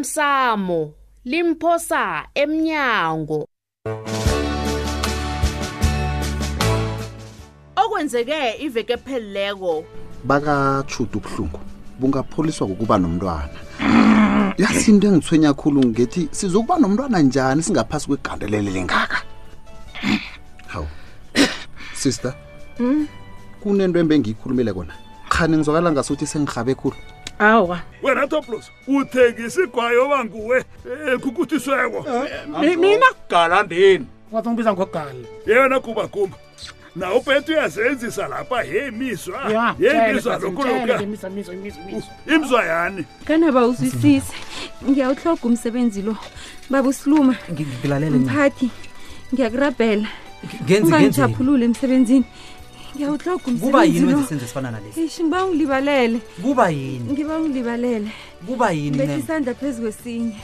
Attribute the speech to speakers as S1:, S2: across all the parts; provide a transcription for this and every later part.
S1: osemsamo limphosa emnyango okwenzeke iveke ephelileko
S2: bakatshuda ubuhlungu bungapholiswa kukuba nomntwana yasi into engithwenya khulu ngethi sizokuba nomntwana njani singaphasi kwegandelele lengaka hawu sister kunento embe engiyikhulumile kona khani ngizwakala ngasuthi sengihabe khulu
S3: awa
S4: wena toplos uthengisa igwayo oba nguwe eh, ekhukhuthisweko
S3: Mi- mina
S4: galandeni
S3: wathi ngibiza ngogali
S4: yena gumbakumba na ubhetu uyazenzisa lapha yemizwa yemizwa lokuluka Uh, imizwa yani
S5: kanaba uzwisise ngiyawuhloga umsebenzi lo baba usiluma
S6: ngilalele
S5: mphathi ngiyakurabhela
S6: ngenzi ngenzi
S5: ungangijaphulule emsebenzini ngiyawuhloga
S6: kuba yini
S5: umsebenzi lo
S6: wenza isenzo esifana nalesi
S5: ishi ngiba ungilibalele
S6: kuba yini
S5: ngiba ungilibalele
S6: kuba yini
S5: betha
S6: Nene?
S5: isandla phezu kwesinye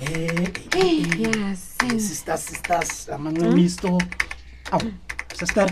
S5: Eh, yazi
S3: sisters sisters amancimisto awu sister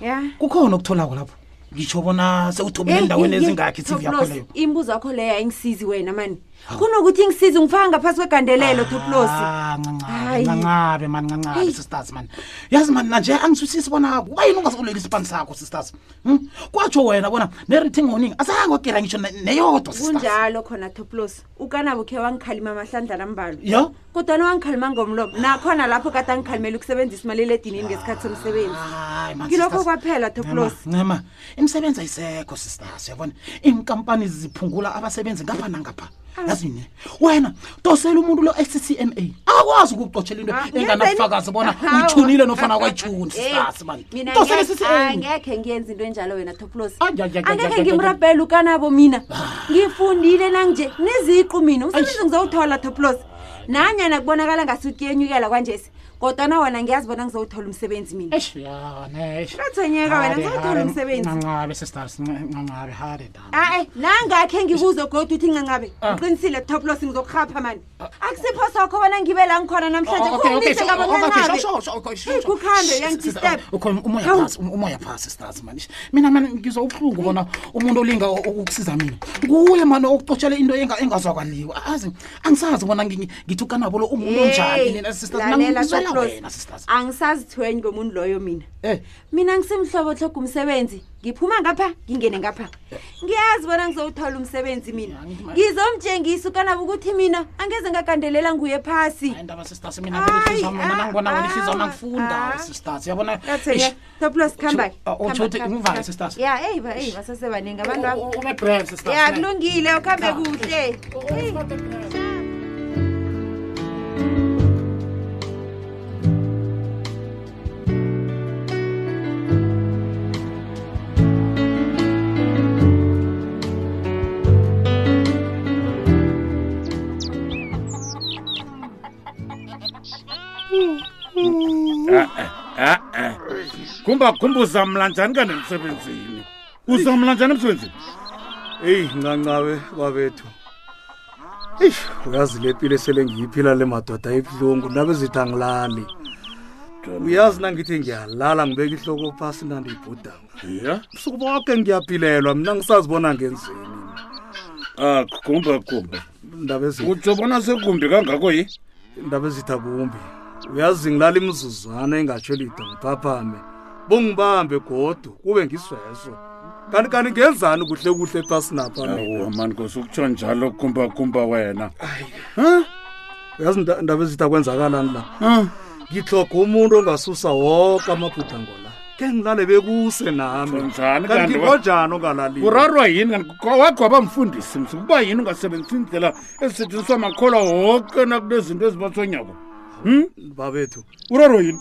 S5: ya
S3: kukhona ukutholako lapho ngitsho bona
S5: Eh,
S3: sewuthobile endaweni ezingakhi isivi yakho leyo
S5: imbuzo yakho leyo ayingisizi wena mani kunokuthi ngisize ngifaka ngaphasi kwegandelelo toplosi
S3: Ah, ncancabe
S5: Hayi.
S3: ncancabe mani ncancabe
S5: Hey.
S3: sisters mani yazi mani nanje angiswisisi bona kuba yini ungasiluleli isipani sakho sisters Hmm? kwatsho wena bona ne-rating warning azange okera ngitsho ne- neyodwa sisters
S5: kunjalo khona toplosi ukanabo khe wangikhalima amahlandla ambalo
S3: ya
S5: kodwana wangikhalima ngomlomo nakhona lapho kade angikhalimela ukusebenzisa imali edinini ngesikhathi somsebenzi
S3: Ah, Hayi, man,
S5: Ngilokho
S3: sisters.
S5: kwaphela, Toplosi.
S3: Ncema, ncema imisebenzi ayisekho sisters uyabona iinkampani ziphungula abasebenzi ngapha nangapha yazini wena tosela umuntu lo SCMA akwazi ukukucotshela into
S5: Ah,
S3: enganabufakazi
S5: ngenzeni?
S3: bona
S5: Hawa.
S3: uyithunile nofana kwayithuni
S5: Hey,
S3: sisters mani
S5: Eh,
S3: Eh.
S5: mina
S3: tosela
S5: ngeke-
S3: i-CCMA
S5: angekhe ngiyenza into enjalo wena toplos
S3: Ay, ay, ay, ay, ay,
S5: angekhe
S3: ay,
S5: ngimrabhele ukanabo mina
S3: Ah.
S5: ngifundile nanje neziqu mina umsebenzi ngizowuthola toplos nanyana kubonakala ngasuthi yenyukela kwanjesi kodwana wona ngiyazi bona ngizowuthola umsebenzi mina
S3: Eish, yana, eish.
S5: Ngathonyeka wena,
S3: Hade,
S5: ngizawuthola
S3: hade,
S5: umsebenzi.
S3: ncancabe sisters ncancabe hade dam
S5: ae Ah, eh, nangakhe ngikuzo goda uthi ncancabe
S3: Ah.
S5: uqinisile toplos ngizokurhapha mani akusipho sakho bona ngibe la ngikhona namhlanje
S3: Ah,
S5: khonise ngaboncancabe Hey, kukhambe, uyangidisturb.
S3: umoya
S5: Hawu.
S3: phasi um- umoya phasi stars mani mina mani ngizwa ubuhlungu bona umuntu olinga u- ukusiza mina nguye mani okucotshele into enga- engazwakaliwa azi angisazi bona ngi- ngithi ukanabo lo umuntu onjani nina sisters mina ngizwela wena sisters
S5: angisazithwenyi komuntu loyo mina
S3: Eh.
S5: mina ngisemhlobo hloga umsebenzi ngiphuma ngapha ngingene ngapha
S3: Eh.
S5: ngiyazi bona ngizowuthola umsebenzi mina ngizomtshengisa ukanabo ukuthi mina angeze ngagandelela nguye phasi
S3: Hayi, ndaba sisters mina vele ihliziyo yami, mina
S5: ah,
S3: nangibona wena ihliziyo yami
S5: ah,
S3: angifunda
S5: ah.
S3: sisters yabona
S5: yatheke toplos kuhamba
S3: Ah, utsho uthi ngivale, sisters. Oh,
S5: ya eyi ba eyi basasebaningi abantu abo
S3: ubebrave sisters
S5: ya
S3: ne.
S5: kulungile ukuhambe
S3: oh,
S5: kuhle Eyi.
S4: a-a gumbakumba eh. uzamla njani kanti emsebenzini uzamla njani emsebenzini
S7: eyi ncancawe babethu eish uyazi le mpilo esele ngiyiphila le madoda ebuhlungu nabe zithi angilali uyazi nangithi ngiyalala ngibeka ihloko phasi nandiyibhudanga
S4: ya
S7: busuku bonke ngiyaphilelwa mna ngisazibona ngenzeni
S4: a gumbakumba
S7: ndaba ezi-
S4: utsho bona sekumbi kangako yi
S7: ndaba ezithi akumbi uyazi ngilala imzuzwana engatsholida ngiphaphame bungibambe godu kube ngisweso kanti kanti ngenzani kuhle kuhle phasi napha mina
S4: awu mani ngosukutsho njalo gumbakumba wena
S7: uyazi nda- ndaba ezithi akwenzakalani la ngitloga umuntu ongasusa woke amabhudango la ke ngilale bekuse nami
S4: Utsho njani kanti we?
S7: kantikonjani ongalalini
S4: urarwa yini kanti wakho wabamfundisi msukuba yini ungasebenzisi indlela ezisetshenziswa makholwa woke nakunezinto ezibathonyako
S7: babethu
S4: urarwa yini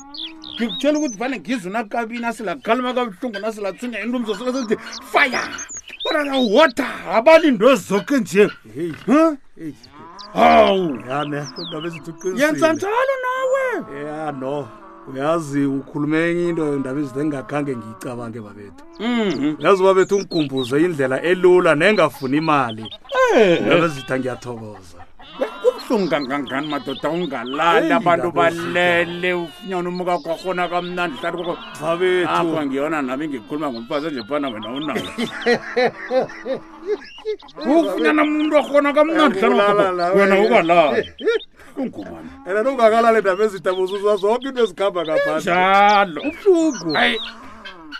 S4: ngikutshela ukuthi fane ngizwe nakabini asilakhalima kabuhlungu nasilathunya into mzosoko sendithi fire orara water abalinto zoke nje
S7: heyi
S4: Huh?
S7: heyi
S4: hawu
S7: yane ndaba ezithi
S4: yenza
S7: uqinisile
S4: njalo nawe
S7: ya no uyazi ukhulume enye into ndaba ezithi engingakhange ngiyicabange babethu
S4: Mhm.
S7: uyazi babethu ungikhumbuze indlela elula nengafuni imali
S4: Eh,
S7: ndaba ezithi angiyathokoza
S4: kubuhlungu kangangani madoda ungalali
S7: Eyi,
S4: abantu
S7: ndaba yezitha.
S4: balele ufunyana umuka kwakhona kamnandi hlati kwakho apha
S7: babethu
S4: ngiyona nami ngikhuluma ngomfazi nje phana wena unawo ufunyana umuntu wakhona kamnandi hlati
S7: Uyabulala
S4: kwakho wena
S7: wena.
S4: ukalali ungumani
S7: and ungakalali ndaba ezidaba uzuzwa zonke into ezikhamba ngaphandle
S4: njalo
S7: buhlungu
S4: hayi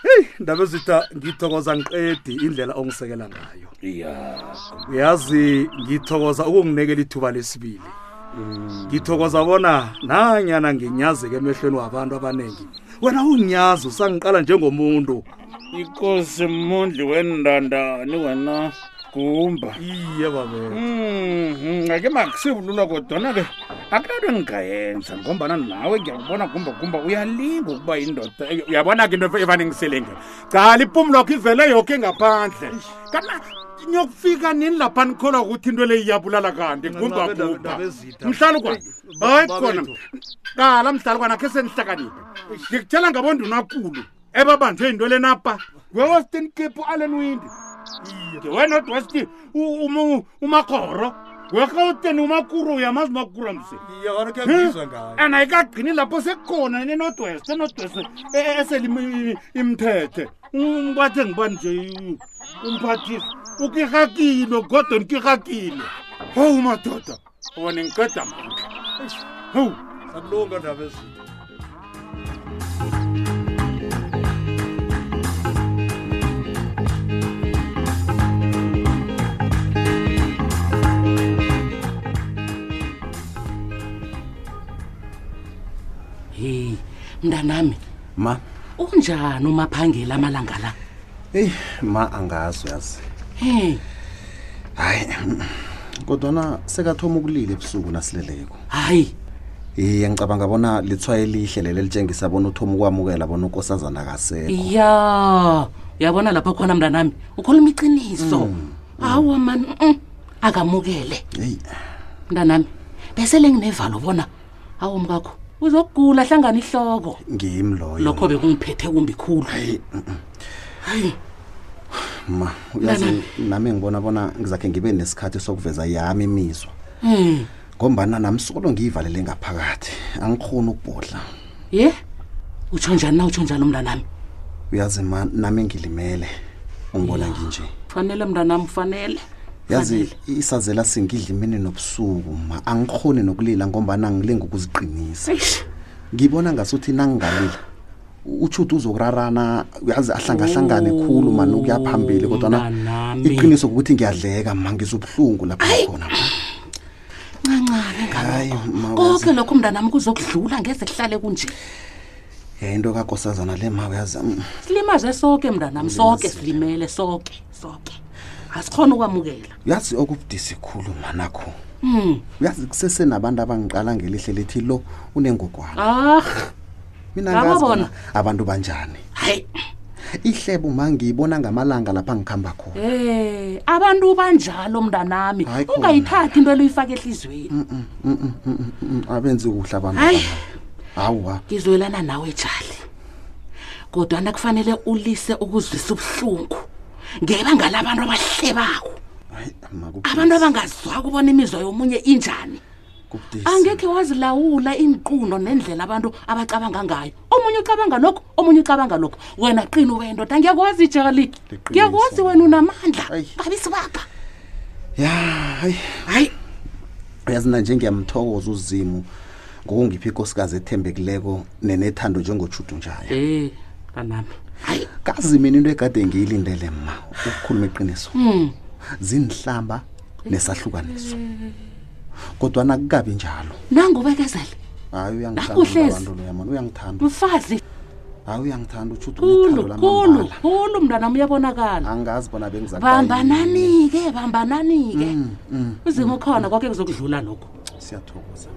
S7: heyi ndaba ezitha ngithokoza ngiqedi indlela ongisekela ngayo
S4: ya
S7: uyazi ngithokoza ukunginikela ithuba lesibili Mm. ngithokoza bona nanyana nginyazeke emehlweni wabantu abaningi wena unginyazi usangiqala njengomuntu
S4: ikosi mundli wendandani wena gumba
S7: iye babela
S4: Mhm, ake makusivulula kodwana-ke akunanto endingayenza ngombana nawe ngiyakubona gumbagumba uyalinga ukuba yindoda Eh, uyabona ke into evane ngiselenge cala ipumu lakho ivele yoke ngaphandle kana niyokufika nini lapha nikholwa ukuthi into le iyabulala kanti
S7: Nqabe ndaba-
S4: gumbagumba
S7: ndaba ezitha.
S4: mhlali kwana
S7: Ba-
S4: hayi khona
S7: babethu.
S4: qala mhlali kwana khe senihlakaniphe ngikutshela ngabondunakulu ebabanjwe yinto lenapa wewestin kipu allen windi Ke wena odwesti umakhoro werhawuteni umakuro uyamazi umakuro mse
S7: iye kona kuyangizwa ngayo
S4: and ayikagqini lapho sekhona nenodwest enodwest e-, eselimthethe bathe ngiba nje umphathisi ukirhakile godon kirhakile howu madoda wona ngiqeda mandla howu
S7: sakulunga ndaba ezitha
S3: heyi mntanami
S2: ma
S3: unjani umaphangela amalanga la
S2: eyi ma angazi uyazi
S3: he
S2: hayi kodwana sekathoma ukulila ebusuku nasileleko
S3: hayi
S2: iye ngicabanga bona lithwaye elihle leli litshengisa bona uthoma ukwamukela bona ukosazana akasekho
S3: ya uyabona lapha khona mntanami ukhuluma iqiniso awa mani mm, akamukele
S2: heyi
S3: mntanami besele nginevalo bona awo mkakho uzokugula hlangana ihloko
S2: ngimi loyo
S3: lokho bekungiphethe kumbi khulu hayi
S2: ma uyazi
S3: Mntanami.
S2: nami ngibona bona ngizakhe ngibe nesikhathi sokuveza yami imizwa Hmm.
S3: um
S2: ngombana nami solo ngiyivalele ngaphakathi angikhoni ukubhodla
S3: ye utsho njani na utsho njalo mntanami
S2: uyazi ma nami ngilimele ungibona nginje
S3: fanele mntanami fanele
S2: yazi
S3: Fanele.
S2: isazela singidla imini nobusuku ma angikhoni nokulila ngombana ngilinga ukuziqinisa
S3: Eish.
S2: ngibona ngasuthi nangingalila utshuti uzokurarana uyazi ahlangahlangane khulu mani ukuya phambili kodwana
S3: mntanami.
S2: iqiniso ukuthi ngiyadleka ma ngizobuhlungu lapho khona
S3: ncancabe
S2: hayi ma uyazi,
S3: konke lokho mntanami kuzokudlula ngeze kuhlale kunje
S2: ya, into kakosazana le ma uyazi mm,
S3: silimaze soke mntanami soke silimele soke soke asikhona ukwamukela
S2: uyazi okubudisi khulu manakho
S3: um
S2: uyazi kusesenabantu abangiqala ngelihle lithi lo unengogwana
S3: ah
S2: mina
S3: ngabo
S2: ngazi bona
S3: bona.
S2: abantu banjani
S3: hayi
S2: ihlebo ma ngiyibona ngamalanga lapha ngihamba khona
S3: um abantu banjalo mntanami
S2: Hayi khona.
S3: ungayithathi into eluyifaka ehliziyweni
S2: Mm, mm, mm, mm, abenzi kuhle abantu
S3: Hayi.
S2: abana. hawa
S3: ngizwelana nawe jali kodwana kufanele ulise ukuzwisa ubuhlungu ngebanga labantu abahlebako
S2: Hayi, ma, kubudisi,
S3: abantu abangazwako ubona imizwa yomunye injani
S2: kubudisi.
S3: angekhe wazilawula iinqundo nendlela abantu abacabanga ngayo omunye ucabanga lokho omunye ucabanga lokho wena qini wendoda ngiyakwazi jali
S2: Liqiniso.
S3: ngiyakwazi wena unamandla
S2: Ayi.
S3: ngabisi bakha
S2: ya hayi
S3: hayi
S2: uyazi na nje ngiyamthokoza uzimu ngokungiphi inkosikazi ethembekileko nenethando njengotshudu njayo
S3: e anami hayi
S2: kazi mina into egade ngiyilindele ma ukukhuluma iqiniso
S3: Mm.
S2: zindihlamba nesahlukaniso kodwa nakukabi njalo
S3: nangubekezele
S2: hayi
S3: Nakuhlezi.
S2: uyangithanda loyamani uyangithanda
S3: mfazi
S2: hayi uyangithanda utshudu
S3: khulu khulu
S2: lamambala
S3: khulu mntanam uyabonakala
S2: angazi bona bengizabambanani
S3: bambanani-ke bambanani-ke uzima ukhona konke kuzokudlula lokho
S2: siyathokoza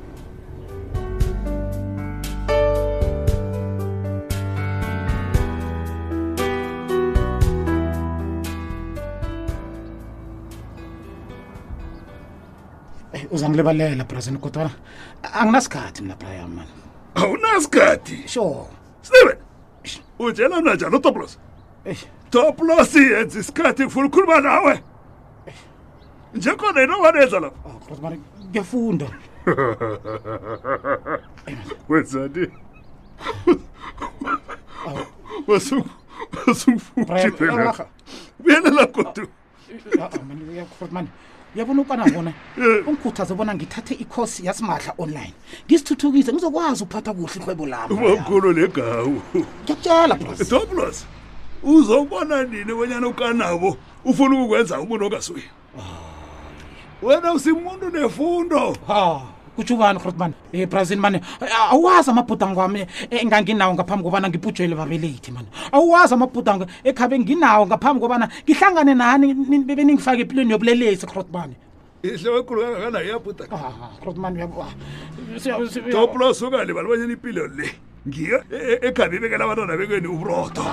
S8: Eh, uzangilibalela brazini kodwana anginasikhathi mna braya mani
S4: awunasikhathi
S8: sure
S4: steven utshela mna njani utoplos
S3: Eh,
S8: Eish.
S4: toplos yenza isikhathi ngifuna
S3: oh,
S4: ukukhuluma nawe njekhona yinovanenza lapho
S8: kodwa ngiyafunda
S4: wenzani basungifuthibenga buyelela godu
S3: Ah, mani uyabona ukana bona ungikhuthaze bona ngithathe ikhosi yasimahla online ngisithuthukise ngizokwazi ukuphatha kuhle ihwebo lami
S4: ubamkhulu legawu
S3: ngiyakutshela bros
S4: toplos uzokubona nini wenyana ukanabo ufuna ukukwenza umuntu ongasuye wena usimuntu nefundo
S3: ha kutsho ubani grotman um brazil mani eh, awazi amabhudango wami eh, enganginawo ngaphambi kobana ngibhujwele babelethi mani awazi amabhudango ekhabe nginawo ngaphambi kobana ngihlangane nani ni- bebeningifake empilweni yobulelesi grotman
S4: ihloko ekulu kangakana iyabhuda
S3: grotman
S4: toplos ungalibali banyana impilo le ngiyo e- e- ekhabe ibekela abantwana bekweni uburodo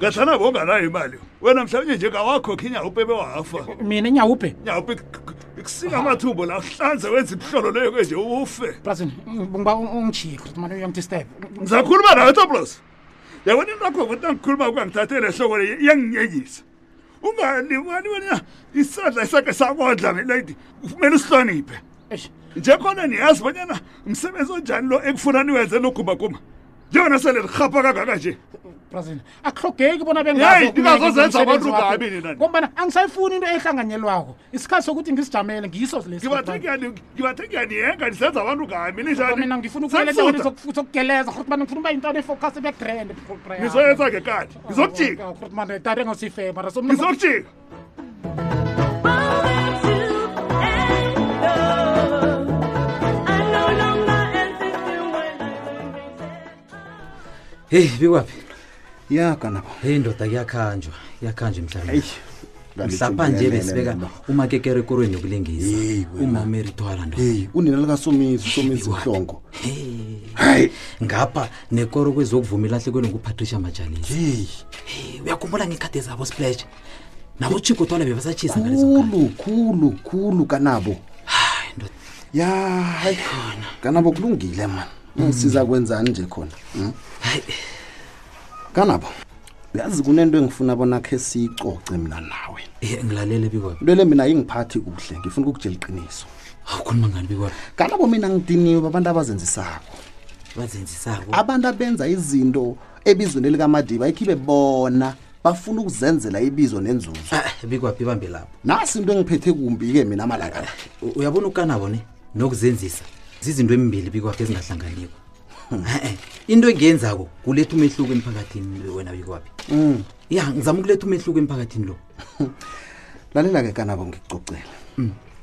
S4: ngahlana bonganayo imali wena mhlawumbe nje kawakho khinya upebe wafa
S3: mina enyawubhe
S4: nyawupe kusika amathumbo la hlanze wenza imhlolo leyo ke nje ufe
S3: brazil ngiba ungijiye grotman uyangidisturb
S4: ngizakhuluma nawe toplos yabona into yakho ngokuthi nangikhuluma ukangithathele hloko le iyanginyenyisa ungalimani wena isandla isakhe sakondla milady kumele usihloniphe njekhona niyazi banyana msebenzi onjani lo ekufuna niwenze nogumaguma njengona sele lirhapha kangaka nje
S3: brazil akuhlogeki bona
S4: Hey, ningazozenza abantu kabi nina.
S3: ngombana angisayifuni into ehlanganyelwako isikhathi sokuthi ngisijamele ngiyiso lesi
S4: ngibathe
S3: Grootman.
S4: ngiyani- ngibathe ngiyaniyenga nisenza abantu ngami
S3: mina ngifuna
S4: ninjani
S3: ukuelezokugelezaman ngifuna uba yintana efocus ebegrand hein.
S4: ngizoyenza ngekati ngizokujika
S3: tata engasifema
S4: ngizokujika
S6: heyi bikwaphi
S2: ya kanabo
S6: heyi ndoda kuyakhanjwa kuyakhanjwa emhlabeni
S2: Eish,
S6: mhlapha nje besibeka
S2: lalitjhugululele
S6: umakekere ekorweni yokulingisa
S2: Hey, wena.
S6: umama erithwala nto
S2: hey unina likasomizi usomizi mhlongo
S6: Hey,
S2: hayi
S6: ngapha nekoro kwezokuvuma ilahlekweni ngupatricia majalisa
S2: hey
S6: Hey, uyakhumbula ngekhadi zabo splash nabotshigotwana bebasatshisa ngalezo
S2: khulu khulu khulu kanabo
S6: hayi ndoda
S2: ya hayi khona kanabo kulungile mani ungisiza kwenzani nje khona mm?
S6: hayi
S2: kanabo uyazi kunento engifuna bona khe siyicoce mina nawe
S6: eh, ngilalele bikwaphi
S2: into le mina ayingiphathi kuhle ngifuna ukukutshela iqiniso
S6: awukhuluma ngani bikwaphi
S2: kanabo mina ngidiniwe babantu abazenzisako
S6: bazenzisako Ah,
S2: abantu abenza izinto ebizweni likamadiba ikhibe bona bafuna ukuzenzela ibizo nenzuzo
S6: Ah, bikwaphi ibambe lapho
S2: nasi into engiphethe kumbi-ke mina amalakala
S6: U- uyabona ukanabo ne nokuzenzisa zizinto emimbili bikwaphi ezingahlanganiko Eh, eh, into engiyenzako kuletha umehluko emphakathini wena bikwaphi ya ngizama ukuletha umehluko emphakathini lo
S2: lalela-ke kanabo ngikucocela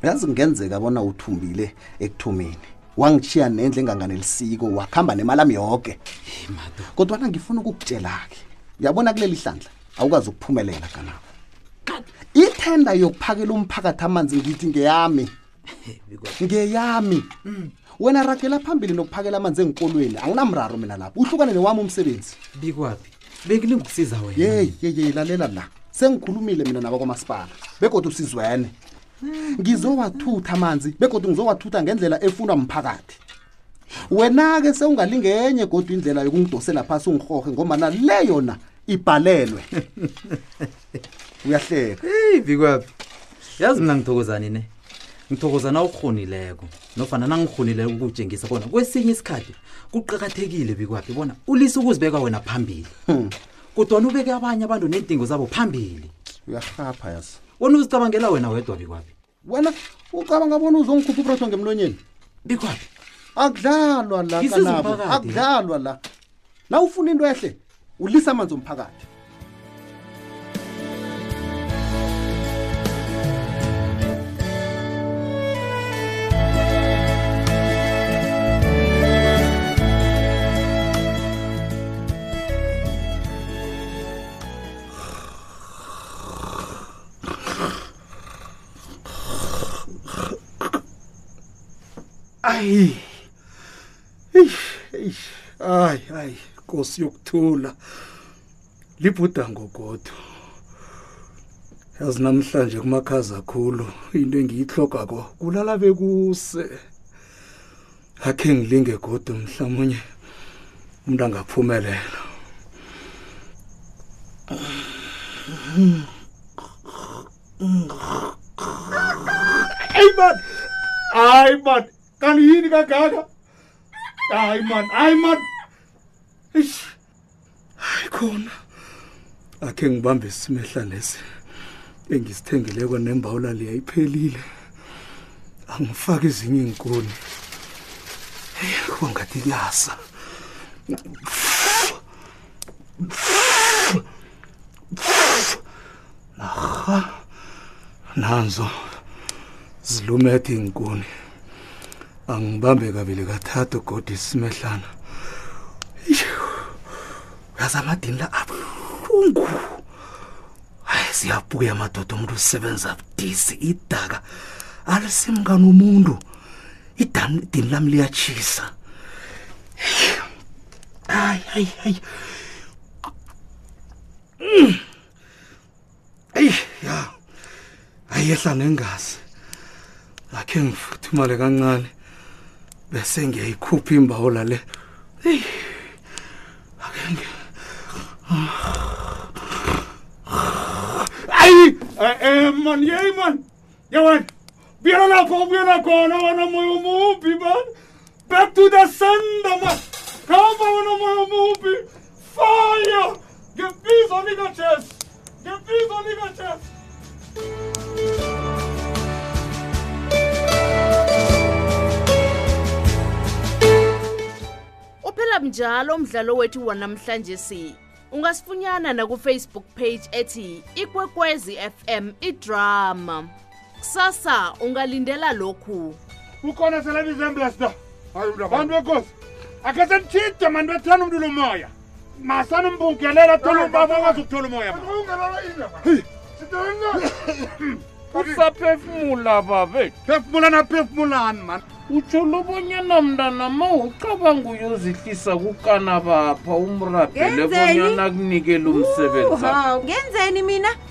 S2: yazi kungenzeka bona uthumbile ekuthomeni wangishiya nendle enganganelisiko wakuhamba nemali ami yoke kodwana ngifuna ukukutshela-ke yabona kuleli hlandla awukwazi ukuphumelela kanabo ithenda yokuphakela umphakathi amanzi ngithi ngeyami ngeyami wena ragela phambili nokuphakela amanzi enkolweni anginamraro mina lapho uhlukane newami umsebenzi
S6: bikwaphi bengilingukusiza wena
S2: yeyi yeyi lalela la sengikhulumile mina nabakwamasipala begodwa usizwene ngizowathutha amanzi begodwa ngizowathutha ngendlela efunwa mphakathi wena-ke sewungalingenye godwa indlela yokungidosela phasi ungihohe ngomana le yona ibhalelwe uyahleka
S6: heyi bikwaphi yazi mina ngithokozani ne ngithokoza na ukhonileko nofana nangihonileko ukutshengisa bona kwesinye isikhathi kuqakathekile bikwaphi bona ulise ukuzibeka wena phambili kodwana ubeke abanye abantu neendingo zabo phambili
S2: uyahapha yazi
S6: wona uzicabangela wena wedwa bikwaphi
S2: wena ucabanga bona uzongikhupha ubrotho ngemlonyeni
S6: bikwaphi
S2: akudlalwa la
S6: Ngisiza
S2: kanabo
S6: umphakathi.
S2: akudlalwa la na ufuna into ehle ulisa amanzi omphakathi
S9: ayi eish eish ayi ayi nkosi yokuthula libhuda ngogodo yazi namhlanje kumakhaza khulu into engiyihloga ko kulala bekuse akhe ngilinge godo mhlawumunye umuntu angaphumelela
S4: hayi man kanti yini kangaka hayi man hayi man Eish.
S10: hayi khona akhe ngibambe simehla lesi engisithengeleko nembawula le ayiphelile angifaki ezinye iinkuni Hey, kuba ngathi kuyasa narha nanzo zilumethe iinkuni angibambe kabili kathathu godi simehlana uyazi amadini la abuhlungu hayi siyabuya madoda umuntu usebenza budisi idaka alisimkani umuntu idam- idini lami liyatshisa hayi hayi hayi Mm. eyi ya ayehla nengazi akhe ngifuthumale kancane bese ngiyayikhupha imbawula le eyi
S4: hayi eh, eh, man yeyi man yewena buyela lapho ubuyela khona wena moya omubi man back to the sender man khamba wena moya omubi fire ngebizo likajes ngebizo likajes
S1: uphela njalo umdlalo wethu wanamhlanje si ungasifunyana na ku Facebook page ethi ikwekwezi fm idrama kusasa ungalindela lokhu
S4: ukhona selabizemblasda bantu bekhosi akhe senitshide mani bethana umntu lomoya masanimbukelela thola ubabakwazi ukuthola umoya
S11: usaphefumula babethu
S4: Hmm. phefumulana phefumulani mani
S11: utsho lobonyana mntanama ucabanga uyozihlisa kukana bapha umrabhele
S5: Ngenzeni?
S11: bonyana akunikele umsebenzi
S5: ngenzeni mina